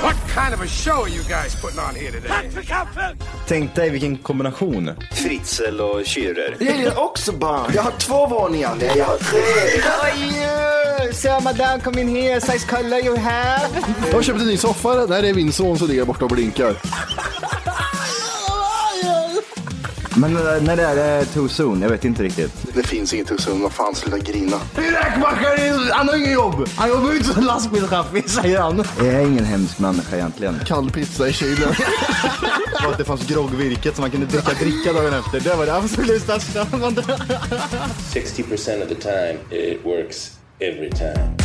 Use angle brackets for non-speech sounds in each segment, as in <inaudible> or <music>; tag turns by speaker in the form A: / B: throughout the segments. A: What kind of a show are you guys putting on here today?
B: Tänk dig vilken kombination.
C: Fritzl och Schürrer.
D: Jag gillar också barn. Jag har två våningar. Nej, jag har tre.
B: Sir, madame, come in here, size color you have.
E: Jag köpte en ny soffa. Där är min son som ligger borta och blinkar.
B: Men eh, när det är det too soon? Jag vet inte riktigt.
D: Det finns inget hus vad fan, sluta grina. Räkmackare, han har inget jobb. Han jobbar ju inte som lastbilschaffis, säger han.
B: Jag är ingen hemsk människa egentligen.
E: Kall pizza i <laughs> kylen.
B: Och att det fanns groggvirket som man kunde dricka dricka dagen efter. Det var det absolut största.
C: 60% of the time, it works every time.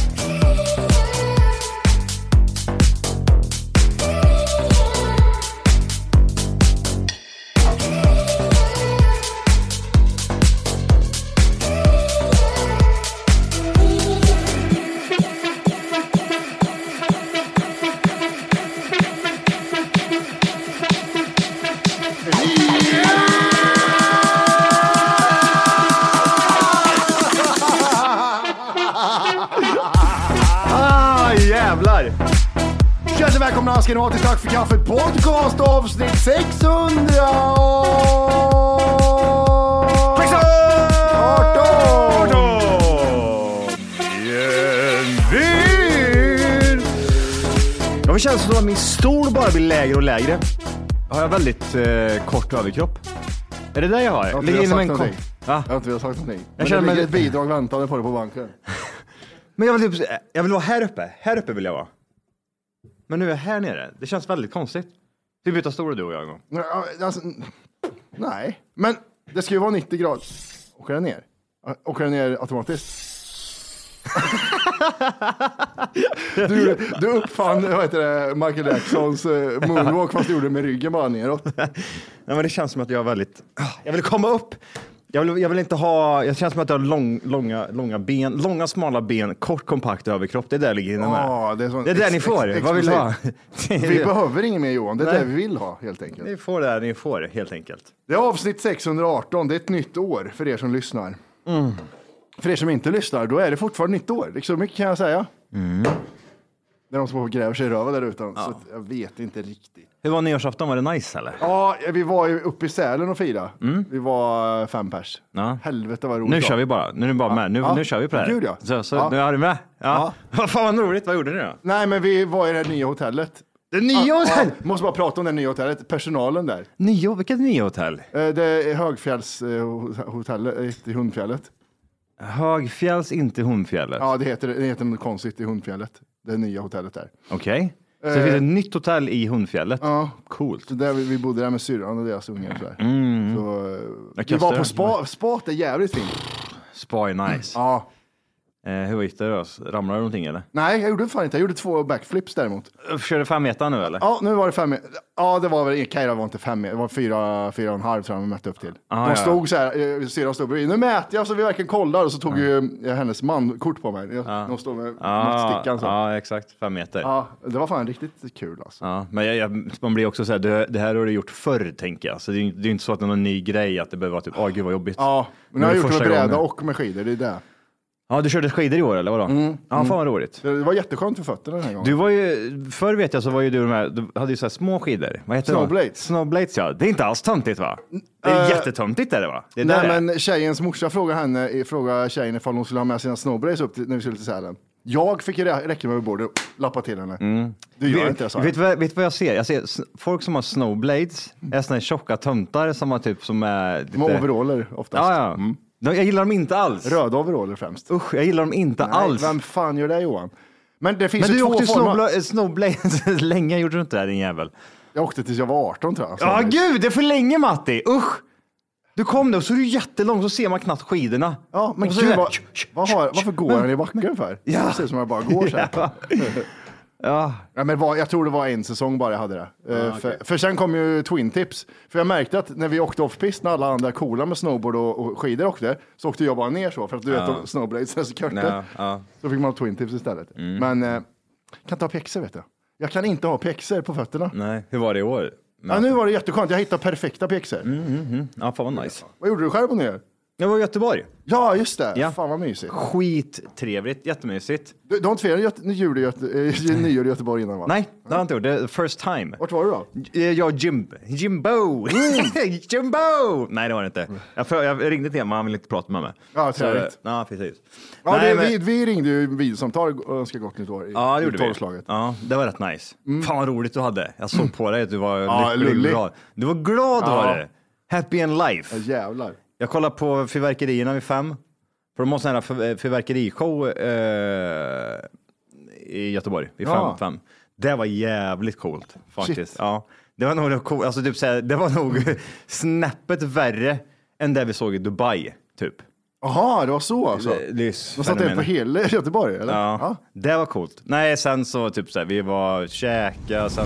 B: Ah, jävlar!
E: Hjärtligt välkomna ska ni vara till Tack för kaffet podcast avsnitt 600! 18!
F: Oh.
B: Bienvenue! Ja, men känns som att min stol bara blir lägre och lägre. Har jag väldigt eh, kort överkropp? Är det det jag har?
E: Jag har inte
B: Ligger
E: velat
B: inom
E: sagt
B: en
E: någonting.
B: kom-
E: Jag
B: Va?
E: har inte velat sagt någonting.
B: Jag
E: Men
B: känner
E: det
B: mig
E: ligger ett
B: lite-
E: bidrag väntande på dig på banken.
B: Men jag vill, typ, jag vill vara här uppe. Här uppe vill jag vara. Men nu är jag här nere. Det känns väldigt konstigt. Vi byter stol du och jag en gång.
E: Nej, Alltså, nej, men det ska ju vara 90 grader. Åker den ner? Åker den ner automatiskt? <laughs> Du, du uppfann vad heter det, Michael Jacksons eh, moonwalk fast du gjorde det med ryggen bara neråt.
B: Nej, men det känns som att jag är väldigt... Ah, Jag vill komma upp. Jag vill, jag vill inte ha... Jag känns som att jag har lång, långa, långa ben, långa smala ben, kort kompakt överkropp. Det är där jag ligger inne med.
E: Ja, det är sån
B: Ah, det är där ni
E: ex-
B: får.
E: ex-
B: Vad vill du ha? <laughs>
E: Vi behöver inget mer Johan, det är
B: Nej.
E: det vi vill ha helt enkelt.
B: Ni får det där ni får helt enkelt.
E: Det är avsnitt 618, det är ett nytt år för er som lyssnar.
B: Mm.
E: För er som inte lyssnar, då är det fortfarande nytt år. Så mycket kan jag säga.
B: Mm.
E: Det är de som gräver sig i röven där ute. Så att jag vet inte riktigt.
B: Hur var nyårsafton? Var det nice eller?
E: Ja, vi var ju uppe i Sälen och firade. Vi var eh, fem pers.
B: Mm. Ja.
E: Helvete vad roligt.
B: Nu
E: det
B: kör
E: var.
B: vi bara. Nu är ni bara med. Nu,
E: Ja.
B: nu kör vi på det här.
E: Gud, ja.
B: Så, så,
E: Ja.
B: <laughs> Nu är du med? Ja. Vad fan vad roligt. Vad gjorde ni då?
E: Nej, men vi var i det här nya hotellet. Det nya hotellet! Måste bara prata om det nya hotellet, personalen där.
B: Nio, vilket nya hotell?
E: Eh, Det är eh, Högfjällshotellet eh, i Hundfjället.
B: Högfjälls, inte Hundfjället.
E: Ja, det heter, det heter något konstigt i Hundfjället. Det nya hotellet där.
B: Okej. Så
E: Eh.
B: det finns ett nytt hotell i Hundfjället.
E: Ja.
B: Coolt.
E: Så där vi, vi bodde där med syrran och deras ungar. och Sådär.
B: Mm.
E: Så, eh, vi
B: kastar
E: var på
B: den.
E: spa, spat, är jävligt fint.
B: Spa är nice.
E: Ja.
B: Eh, hur gick det då? Ramlade du någonting eller?
E: Nej, jag gjorde fan inte. Jag gjorde två backflips däremot.
B: Körde fem meter nu eller?
E: Ja, nu var det fem. Ja, det var väl, Kaira var inte fem, det var fyra, fyra och en halv tror jag de mätte upp till.
B: Ah,
E: de
B: ja.
E: stod så här, eh, syrran stod bredvid, nu mäter jag så vi verkligen kollar och så tog ju eh, hennes man kort på mig. Jag, De stod med stickan så.
B: Ah, ja, exakt. Fem meter.
E: Ja, det var fan riktigt kul alltså.
B: Ja, men jag, jag, man blir också så här, det, det här har du gjort förr tänker jag. Så det är ju det är ju inte så att det är någon ny grej att det behöver vara typ, åh gud vad jobbigt.
E: Ja, men nu
B: är
E: har jag gjort det
B: första
E: med bräda
B: gången.
E: och med skidor, det är det.
B: Ja, du körde skidor i år eller vadå? Mm. Ja, fan vad roligt.
E: Det var jätteskönt för fötterna den här gången.
B: Du var ju, förr vet jag så var ju du de här, du hade ju så här små skidor. Vad heter det?
E: Snowblades.
B: Snowblades. ja. Det är inte alls töntigt va? Det är
E: Eh,
B: jättetöntigt är det va? Det är där det är.
E: Nej, men tjejens morsa frågade, henne, frågade tjejen ifall hon skulle ha med sina snowblades upp till, när vi skulle till Sälen. Jag fick ju rä- räcka mig över bordet och lappa till henne. Du gör inte det, sa jag.
B: Mm. Vet du vad, vet du vad jag ser? Jag ser s- folk som har snowblades, är såna här tjocka töntar som har typ som är... Lite...
E: Med overaller oftast. Mm.
B: Ja, ja. De, jag gillar dem inte alls.
E: Röda overaller främst.
B: Usch, jag gillar dem inte
E: Nej,
B: alls.
E: Vem fan gör det Johan? Men det finns
B: Men
E: ju
B: du
E: två
B: åkte
E: former.
B: snowbla- snowblades <laughs> länge, gjorde du inte det din jävel?
E: Jag åkte tills jag var 18 tror jag.
B: Ja, gud, det är för länge Matti, usch! Du kom då, så är du jättelång, så ser man knappt skidorna.
E: Ja, men
B: Och så
E: gud,
B: är det-
E: vad, vad har, varför går han i backen för?
B: <laughs> Ja.
E: Det ser ut som att jag bara går så här.
B: <laughs> Ja. Ja.
E: Ja, men var, jag tror det var en säsong bara jag hade det. Eh, för, för sen kom ju Twin Tips. För jag märkte att när vi åkte offpist, när alla andra coola med snowboard och, och skidor åkte, så åkte jag bara ner så. För att du vet, de snowblades är så korta.
B: Ja, ja. Mm.
E: Så fick man ha Twin Tips istället. Men eh, kan inte ha pjäxor vet jag. Jag kan inte ha pjäxor på fötterna.
B: Nej, hur var det i år?
E: Ja, nu var det jätteskönt, jag hittade perfekta pjäxor.
B: Mm. Ja, fan vad nice.
E: Vad gjorde du själv på nyår?
B: Jag var i Göteborg.
E: Ja, just det.
B: Ja.
E: Fan vad mysigt.
B: Skittrevligt, jättemysigt.
E: Du, du har inte firat Göte- jul i Göte- eh, nyår i Göteborg innan va?
B: Nej, det har jag inte gjort. Det är first time.
E: Vart var du då?
B: Eh, Jag och Jim, Jimbo.
E: Mm.
B: <laughs> Jimbo! Nej, det var det inte. Jag, för, jag ringde till honom, men han ville inte prata med mig.
E: Ja,
B: Så-
E: trevligt.
B: Ja, precis.
E: Ja,
B: Nej,
E: det,
B: men-
E: vi, vi ringde ju videosamtal och önskade gott nytt år i,
B: Ja, det
E: i
B: gjorde vi.
E: tolvslaget. Mm.
B: Ja, det var rätt nice. Fan vad roligt du hade. Jag såg på dig att du var
E: Ja,
B: lycklig och
E: lullig.
B: glad. Du var glad
E: Ja.
B: var du. Happy in life.
E: Ja, jävlar.
B: Jag kollade på fyrverkerierna vid fem. För de har sån här fyr- fyrverkerishow eh, i Göteborg vid fem,
E: Ja.
B: fem. Det var jävligt coolt faktiskt.
E: Shit. Mm.
B: Ja, det var nog, det cool, alltså, typ, såhär, det var nog <laughs> snäppet värre än det vi såg i Dubai. Typ.
E: Jaha, det var så alltså?
B: Det- det är
E: De satte eld på
B: fenomen.
E: hela Göteborg eller?
B: Ja, det var coolt. Nej, sen så typ såhär, vi var käka, sen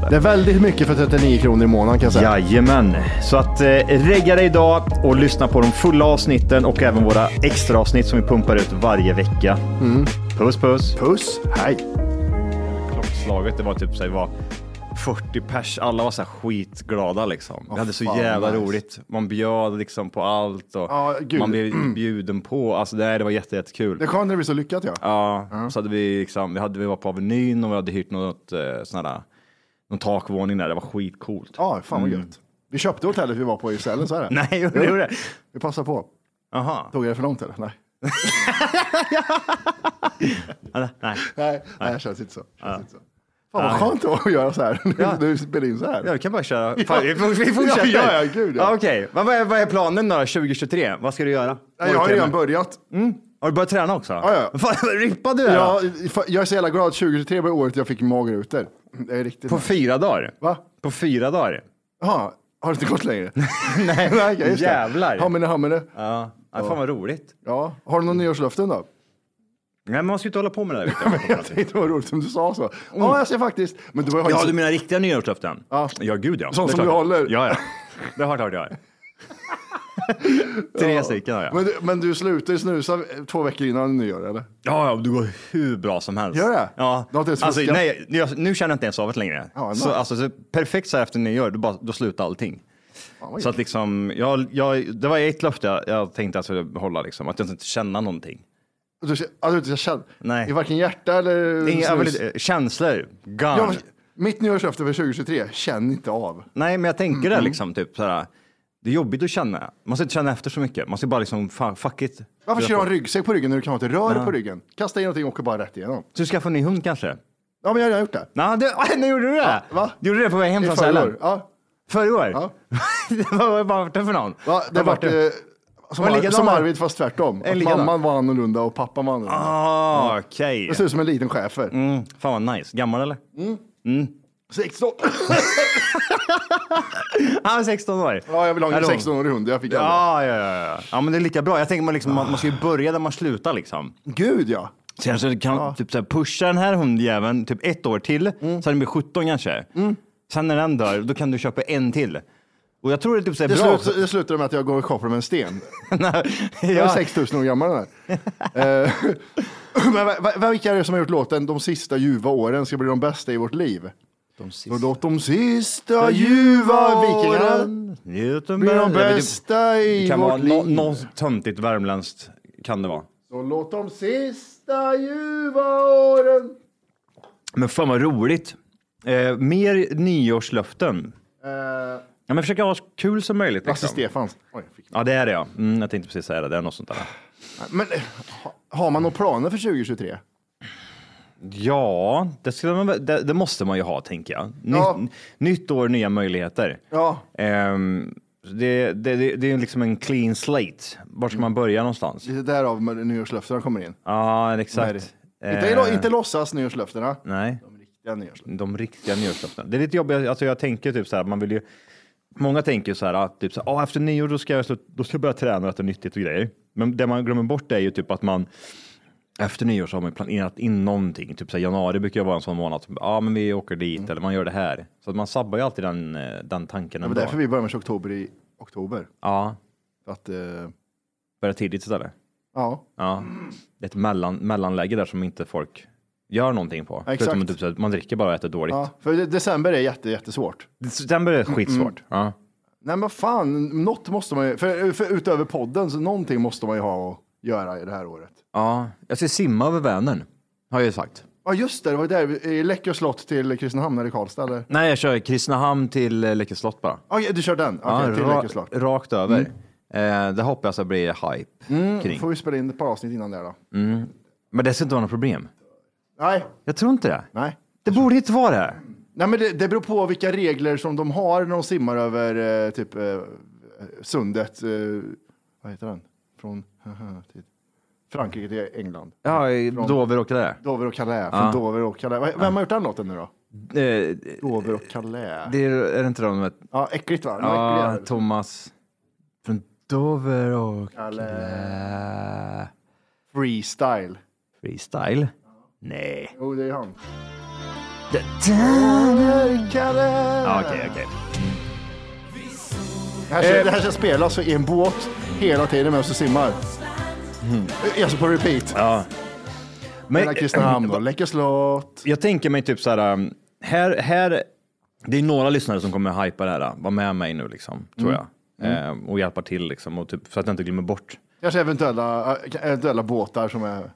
B: det.
E: Det är väldigt mycket för 39 kronor i månaden kan jag säga.
B: Jajamän, så att eh, regga dig idag och lyssna på de fulla avsnitten och även våra extra avsnitt som vi pumpar ut varje vecka.
E: Mm.
B: Puss puss!
E: Puss, hej.
B: Klockslaget, det var typ så här, det var 40 pers, alla var så här skitglada liksom.
E: Åh,
B: vi hade så
E: fan,
B: jävla
E: nice.
B: roligt. Man bjöd liksom på allt och
E: Ja, gud.
B: man blev bjuden på. Alltså det, här, det var jätte, jättekul.
E: Det är skönt när det blir så lyckat ja.
B: Ja, så hade vi liksom, vi, hade, vi var på Avenyn och vi hade hyrt något eh, sån här, någon takvåning där, det var skitcoolt.
E: Ja, fan vad gött. Vi köpte hotellet vi var på i Sälen, så är det.
B: Mm. <laughs> Nej, gjorde
E: Jo,
B: du det?
E: Vi passar på.
B: Aha.
E: Tog jag det för
B: <laughs>
E: långt eller? Nej.
B: Nej.
E: Nej, nej, det känns inte så. Känns inte så. Fan vad skönt det var att göra så <laughs> här. Nu,
B: Ja.
E: nu spelar in så här.
B: Ja, vi kan bara
E: <laughs>
B: köra. Fan, vi, vi fortsätter.
E: Ja, ja, ja, gud, ja.
B: Okej, vad, vad, är, vad är planen då 2023? Vad ska du göra?
E: Nej, jag har redan börjat.
B: Har du börjat träna också?
E: Ja, ja.
B: Fan, vad rippad du är.
E: Ja,
B: då.
E: fa- jag är så jävla glad. 2023 var året jag fick magrutor. Det är riktigt.
B: På fyra dagar.
E: Va?
B: På fyra dagar.
E: Jaha, har det inte
B: <laughs>
E: gått längre? <laughs> nej, nej just det.
B: jävlar.
E: Ja, men det, ja, men det.
B: Ja. Ja, fan vad roligt.
E: Ja, har du någon nyårslöften då?
B: Nej, men man ska ju inte hålla på med det där.
E: <laughs>
B: vet du.
E: Jag tänkte det var roligt om du sa så. Ja, jag ser faktiskt. Men du har ju
B: ja,
E: inte-
B: du menar riktiga nyårslöften?
E: Ja.
B: Ja, gud ja.
E: Sånt
B: Det är
E: <laughs> som
B: klart.
E: du håller.
B: Ja, ja. Det har klart jag. Tre stycken har jag.
E: Men, du- men du slutar ju snusa eh, två veckor innan nyår eller?
B: Ja, ja, det går hur bra som helst.
E: Gör det?
B: Ja.
E: Du har inte ens
B: alltså,
E: fuskat?
B: nej, jag, nu känner jag inte ens av det längre.
E: Ja, nice.
B: så, alltså, så, perfekt så här efter nyår, då, bara, då slutar allting.
E: vad
B: så att liksom, jag, jag, det var ett löfte jag, jag tänkte att jag skulle hålla, liksom, att jag inte känna någonting.
E: Du, ja, du, jag känner,
B: Nej.
E: I varken hjärta eller
B: Inga, jag vill,
E: snus.
B: inte- känslor, gone.
E: Jag, mitt nyårslöfte för 2023, känn inte av.
B: Nej, men jag tänker
E: Mm,
B: det liksom, typ såhär, det är jobbigt att känna. Man ska inte känna efter så mycket. Man ska bara liksom, fan, fuck it.
E: Varför ska du ha en
B: rygg?
E: ryggsäck på ryggen när du kan ha ett rör på ryggen? Kasta in någonting och åker bara rätt igenom.
B: Du ska få en ny hund kanske?
E: Ja, men jag har redan gjort det.
B: Nej, det, <laughs> nu gjorde du det?
E: Ja, va?
B: Du gjorde det på väg hem
E: I
B: från
E: förrgår,
B: Sälen?
E: Ja.
B: Förra år?
E: Ja.
B: Vad var var <laughs> det för någon?
E: Va, det
B: Vad
E: vart
B: var
E: eh, som,
B: Var det
E: Ar-
B: likadan
E: som
B: där?
E: Arvid fast tvärtom.
B: En
E: Att
B: likadan?
E: mamman var annorlunda och pappan var annorlunda.
B: Ah,
E: Mm.
B: okej.
E: Det ser ut som en liten schäfer.
B: Mm, fan vad nice. Gammal eller?
E: Mm. Sexton-
B: Han är 16 år.
E: ja, jag vill ha en
B: Hallå.
E: 16-årig hund. Jag fick ja.
B: Ja, ja, ja, ja. Ja, men det är lika bra. Jag tänker man, liksom, man, man ska ju börja där man slutar liksom.
E: Gud ja.
B: Sen så kan man typ så här pusha den här hundjäveln typ ett år till,
E: Mm.
B: så den blir 17 kanske. Sen när den dör, då kan du köpa en till. Och jag tror det är typ så här
E: Det,
B: bra också.
E: slut, det slutade med att jag går och kopplar med en sten. Jag är
B: <laughs> ja.
E: 6000 år gammal den
B: <laughs>
E: här. Eh, <laughs> Men va- va- vilka är det som har gjort låten De sista ljuva åren ska bli de bästa i vårt liv?
B: De sista
E: Och låt de sista ljuva vikingarna blir de bästa
B: Det
E: i
B: kan vara
E: vårt
B: nå-
E: liv.
B: något töntigt värmländskt, kan det vara.
E: Så låt de sista ljuva åren.
B: Men fan vad roligt. Eh, mer nyårslöften.
E: Eh,
B: Ja, men försöka ha så kul som möjligt.
E: Lasse
B: Liksom.
E: Stefans. Oj, fick-
B: Ja, det är det ja. Mm, jag tänkte precis säga det. Det är något sånt där.
E: Men eh, ha- har man några planer för 2023?
B: Ja, det, skulle man, väl- det, det måste man ju ha, tänker jag. Ny,
E: Ja.
B: Nytt år, nya möjligheter.
E: Ja.
B: Ehm, det, det, det, det är ju liksom en clean slate. Var ska man börja någonstans?
E: Det är därav med nyårslöftena kommer in.
B: Ja, exakt.
E: Inte,
B: Eh,
E: inte låtsas nyårslöftena.
B: Nej.
E: Ja, nyårslöftena.
B: de riktiga nyårslöftena. Det är lite jobbigt, alltså jag tänker typ så här, man vill ju, många tänker ju så här, att typ så här, "Ah, efter nyår då ska, jag, slut- då ska jag börja träna och äta nyttigt och grejer. Men det man glömmer bort är ju typ att man, efter nyår så har man ju planerat in någonting. Typ så här, januari brukar ju vara en sån månad, som, ja men vi åker dit
E: Mm.
B: eller man gör det här. Så att man sabbar ju alltid den, eh, den tanken.
E: Det var
B: ändå.
E: därför vi började med 21 oktober i oktober.
B: Ja,
E: För Att, eh,
B: börja tidigt istället.
E: ja.
B: Ja, det är ett mellan, mellanläge där som inte folk gör någonting på.
E: exakt.
B: Förutom att typ så här, man dricker bara och äter dåligt.
E: ja, för de- december är jätte, jättesvårt.
B: December är skitsvårt.
E: Mm,
B: Ja.
E: Nej men fan, något måste man ju, för, för utöver podden, så någonting måste man ju ha att göra i det här året.
B: Ja, jag ska simma över Vänern, har jag ju sagt.
E: Ja just det, det var där, vi- i Läckö slott till Kristinehamn eller Karlstad eller?
B: Nej, jag kör Kristinehamn till eh, Läckö slott bara.
E: Ja, du kör den? Okej, till
B: Ah, ra-
E: Läckö slott.
B: rakt över. Eh, det hoppas jag blir hype kring.
E: Får vi spela in ett par avsnitt innan där då?
B: Men det ska inte vara något problem.
E: Nej,
B: Jag tror inte det.
E: nej.
B: Det borde inte vara det.
E: Nej men det, det beror på vilka regler som de har när de simmar över eh, typ eh, sundet, eh, vad heter den? Från <laughs> till Frankrike till England.
B: Ja, i
E: Från-
B: Dover och det där.
E: Dover och Calais, från Dover och Calais. Vad- Vem har gjort den låten nu då?
B: Eh,
E: Dover och Calais.
B: det är, är det inte de med...
E: Ja, äckligt va? Den var äcklig,
B: Ja,
E: jävel.
B: Thomas. Från Dover och...
E: Calais. Freestyle.
B: Freestyle? Nej.
E: Jo, det är han.
B: Ja, Okej, okej.
E: Det här, ska, Alltså, det här ska spelas i en båt hela tiden medan du simmar. Alltså på repeat. Mellan Kristinehamn och Läckö slott.
B: jag tänker mig typ så här, um, här, här, det är några lyssnare som kommer hypa det här, var med mig nu liksom, tror jag. Eh, och hjälpa till liksom, och typ, så att jag inte glömmer bort.
E: Kanske eventuella, äh, eventuella båtar som är...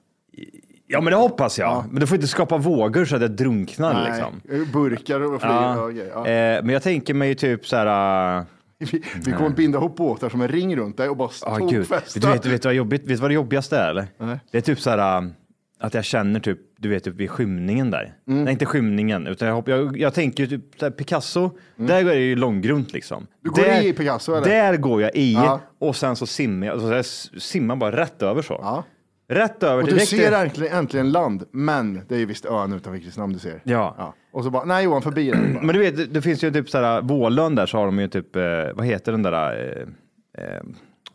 B: Ja men det hoppas jag, men du får inte skapa vågor så att jag drunknar liksom.
E: Nej, burkar och flyger.
B: Ja.
E: och grejer. Ja.
B: Eh, men jag tänker mig typ så här, uh,
E: Vi, vi kommer binda ihop båtar som en ring runt dig och bara
B: ah, gud. Du
E: tokfesta.
B: vet, du vet, vad jobbigt, vet du vad det jobbigaste är eller?
E: Nej.
B: Det är typ så här, um, att jag känner typ, du vet typ vid skymningen där.
E: Mm.
B: Nej inte skymningen, utan jag, hopp- jag, jag tänker ju typ så här, Picasso, där går jag ju långgrunt liksom.
E: Mm. Du går
B: där,
E: i Picasso, eller?
B: Där går jag i
E: Ja.
B: och sen så simmar jag, alltså, jag s- simmar bara rätt över så.
E: Ja.
B: Rätt över
E: och du
B: direkt-
E: ser äntligen, äntligen land, men det är ju visst ön utanför Kristinehamn du ser.
B: Ja.
E: Och så bara, nej Johan, förbi den.
B: <clears throat>
E: Bara.
B: Men du vet, det, det finns ju typ såhär, Vålön där så har de ju typ, eh, vad heter den där, eh, eh,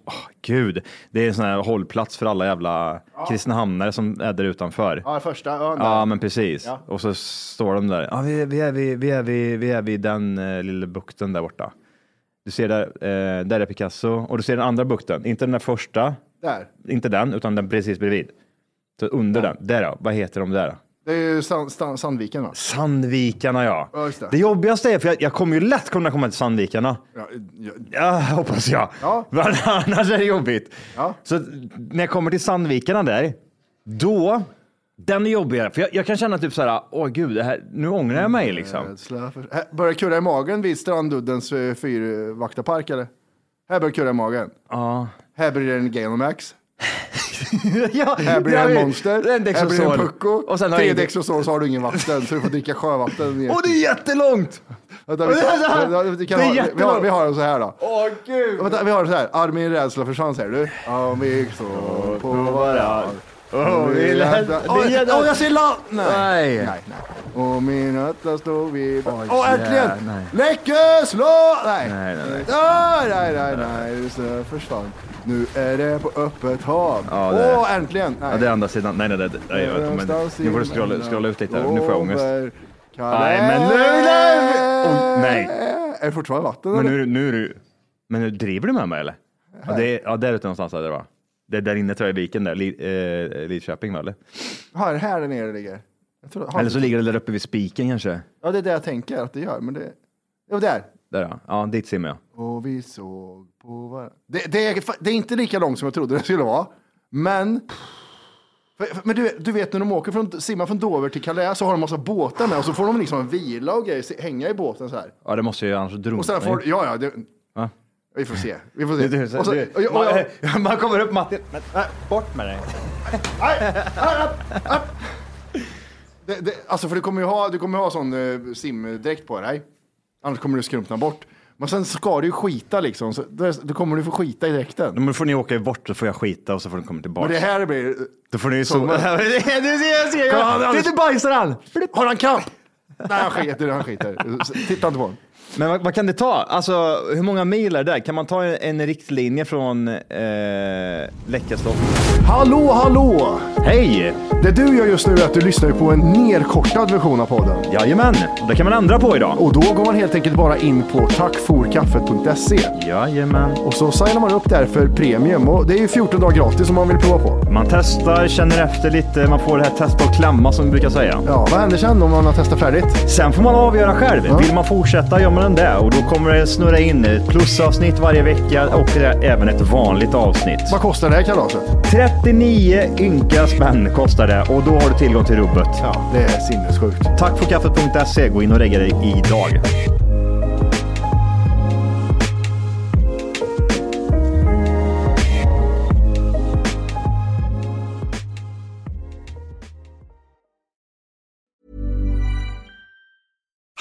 B: åh, gud, det är en sån här hållplats för alla jävla kristinehamnare som är där utanför.
E: Ja, första ön där.
B: Ja, men precis.
E: Ja.
B: Och så står de där. Ja, vi, vi, är vid, vi, är vid, vi är vid den eh, lilla bukten där borta. Du ser där, eh, där är Picasso och du ser den andra bukten. Inte den där första,
E: Där.
B: inte den, utan den precis bredvid. Så under den, där ja. Vad heter de där?
E: Det är ju Sand, Sand, Sandviken va?
B: Sandvikarna ja.
E: Ja, just det.
B: Det jobbigaste är, för jag, jag kommer ju lätt kunna komma till Sandvikarna.
E: Ja, ja,
B: Ja, hoppas jag.
E: Ja.
B: <laughs> Men Annars är det jobbigt. Så när jag kommer till Sandvikarna där, då, den är jobbigare. För jag, jag kan känna typ så här, åh gud, det här, nu ångrar jag
E: Mm,
B: mig liksom.
E: rädsla för... Här Börjar kurra i magen vid Stranduddens eh, fyrvaktarpark eller? Här börjar kurra i magen.
B: Ja.
E: Här blir det en Gainomax.
B: <laughs> ja,
E: Här blir det
B: jag
E: en
B: vet.
E: monster.
B: Det är en
E: här blir det en
B: Dexosol.
E: pucko.
B: Och sen har
E: Tre
B: jag inget-
E: Dexosol så har du ingen vatten så du får dricka sjövatten. ner.
B: Åh, det är jättelångt!
E: Vänta,
B: <laughs>
E: vi,
B: Det är så här.
E: vänta, vi, kan
B: Det är
E: ha, vi, har,
B: jättelångt.
E: vi har den så här då.
B: Åh gud!
E: Vänta, vi har den så här. Armin rädsla försvann säger du. Ja, vi står på varann.
B: Åh, vi lät-
E: Åh,
B: vi lät-
E: åh, jag ser land! Nej.
B: Nej.
E: nej. Och min ötta stod vid... Åh,
B: jä-
E: äntligen!
B: nej.
E: Läckö slå! Nej.
B: Nej, nej, nej.
E: Ah, nej, nej, nej. Snö försvann. Nu är det på öppet hav.
B: Ja,
E: Åh,
B: det är-
E: äntligen! Nej.
B: Ja, det är andra sidan. Nej, nej, nej. nej jag vet, men, nu får du scrolla, scrolla ut lite. här. Nu får jag ångest. Nej, men nu- nu- Åh, nej.
E: Är det fortfarande vatten?
B: Men
E: eller?
B: nu, nu är du... Men nu driver du med mig eller? Ja, det är, ja där ute någonstans är det va? Det är där inne tror jag i viken där, Li, eh, Lidköping va? Eller?
E: Här, här där nere ligger. Jag tror, har
B: eller
E: vi-
B: så ligger det där uppe vid spiken kanske?
E: Ja, det är det jag tänker att det gör. Men det... Jo, där.
B: Där ja, ja dit simmar jag.
E: Och vi såg på varandra. Det, det, är, fa- det är inte lika långt som jag trodde det skulle vara. Men... för- för- Men du, du vet när de åker från, simmar från Dover till Calais så har de massa båtar med och så får de liksom en vila och grejer, se- hänga i båten så här.
B: Ja det måste jag ju annars drunkna
E: Och sen får,
B: ju.
E: ja ja, det,
B: Va?
E: vi får se. Vi får
B: Du, <laughs>
E: se.
B: du,
E: Och så, och,
B: du,
E: och, och,
B: <laughs>
E: och,
B: man, man kommer upp Matti, men, nej, bort
E: <laughs>
B: med dig.
E: Det, det, alltså för du kommer ju ha, du kommer ju ha sån eh, simdräkt på dig. Annars kommer du skrumpna bort. Men sen ska du ju skita liksom. Så då, då kommer du få skita i dräkten.
B: Men då får ni åka bort så får jag skita och så får ni komma tillbaka.
E: Men det här blir...
B: Då får ni ju sola. <laughs>
E: Sola.
B: du ser, jag ser,
E: Kolla, han-
B: jag, det är inte bajsar han!
E: Har han kramp? Nej, han skiter. Han skiter. Så Titta inte på honom.
B: Men vad, vad kan det ta? Alltså, hur många mil är det där? Kan man ta en, en riktlinje från eh, Läckaslott?
E: Hallå, hallå!
B: Hej!
E: Det du gör just nu är att du lyssnar ju på en nedkortad version av podden.
B: Jajamän, det kan man ändra på idag.
E: Och då går man helt enkelt bara in på tackforkaffet.se.
B: Jajamän.
E: Och så signar man upp där för premium. Och det är ju 14 dagar gratis om man vill prova på.
B: Man testar, känner efter lite, man får det här testa och klämma som vi brukar säga.
E: Ja, vad händer sen om man har testat färdigt?
B: Sen får man avgöra själv. Vill man fortsätta gör man det och då kommer det snurra in ett plusavsnitt varje vecka och det är även ett vanligt avsnitt.
E: Vad kostar det här kalaset?
B: 39 ynka spänn kostar det och då har du tillgång till rubbet.
E: Ja, det är sinnessjukt.
B: Tack för kaffet.se. E. Gå in och lägg dig idag.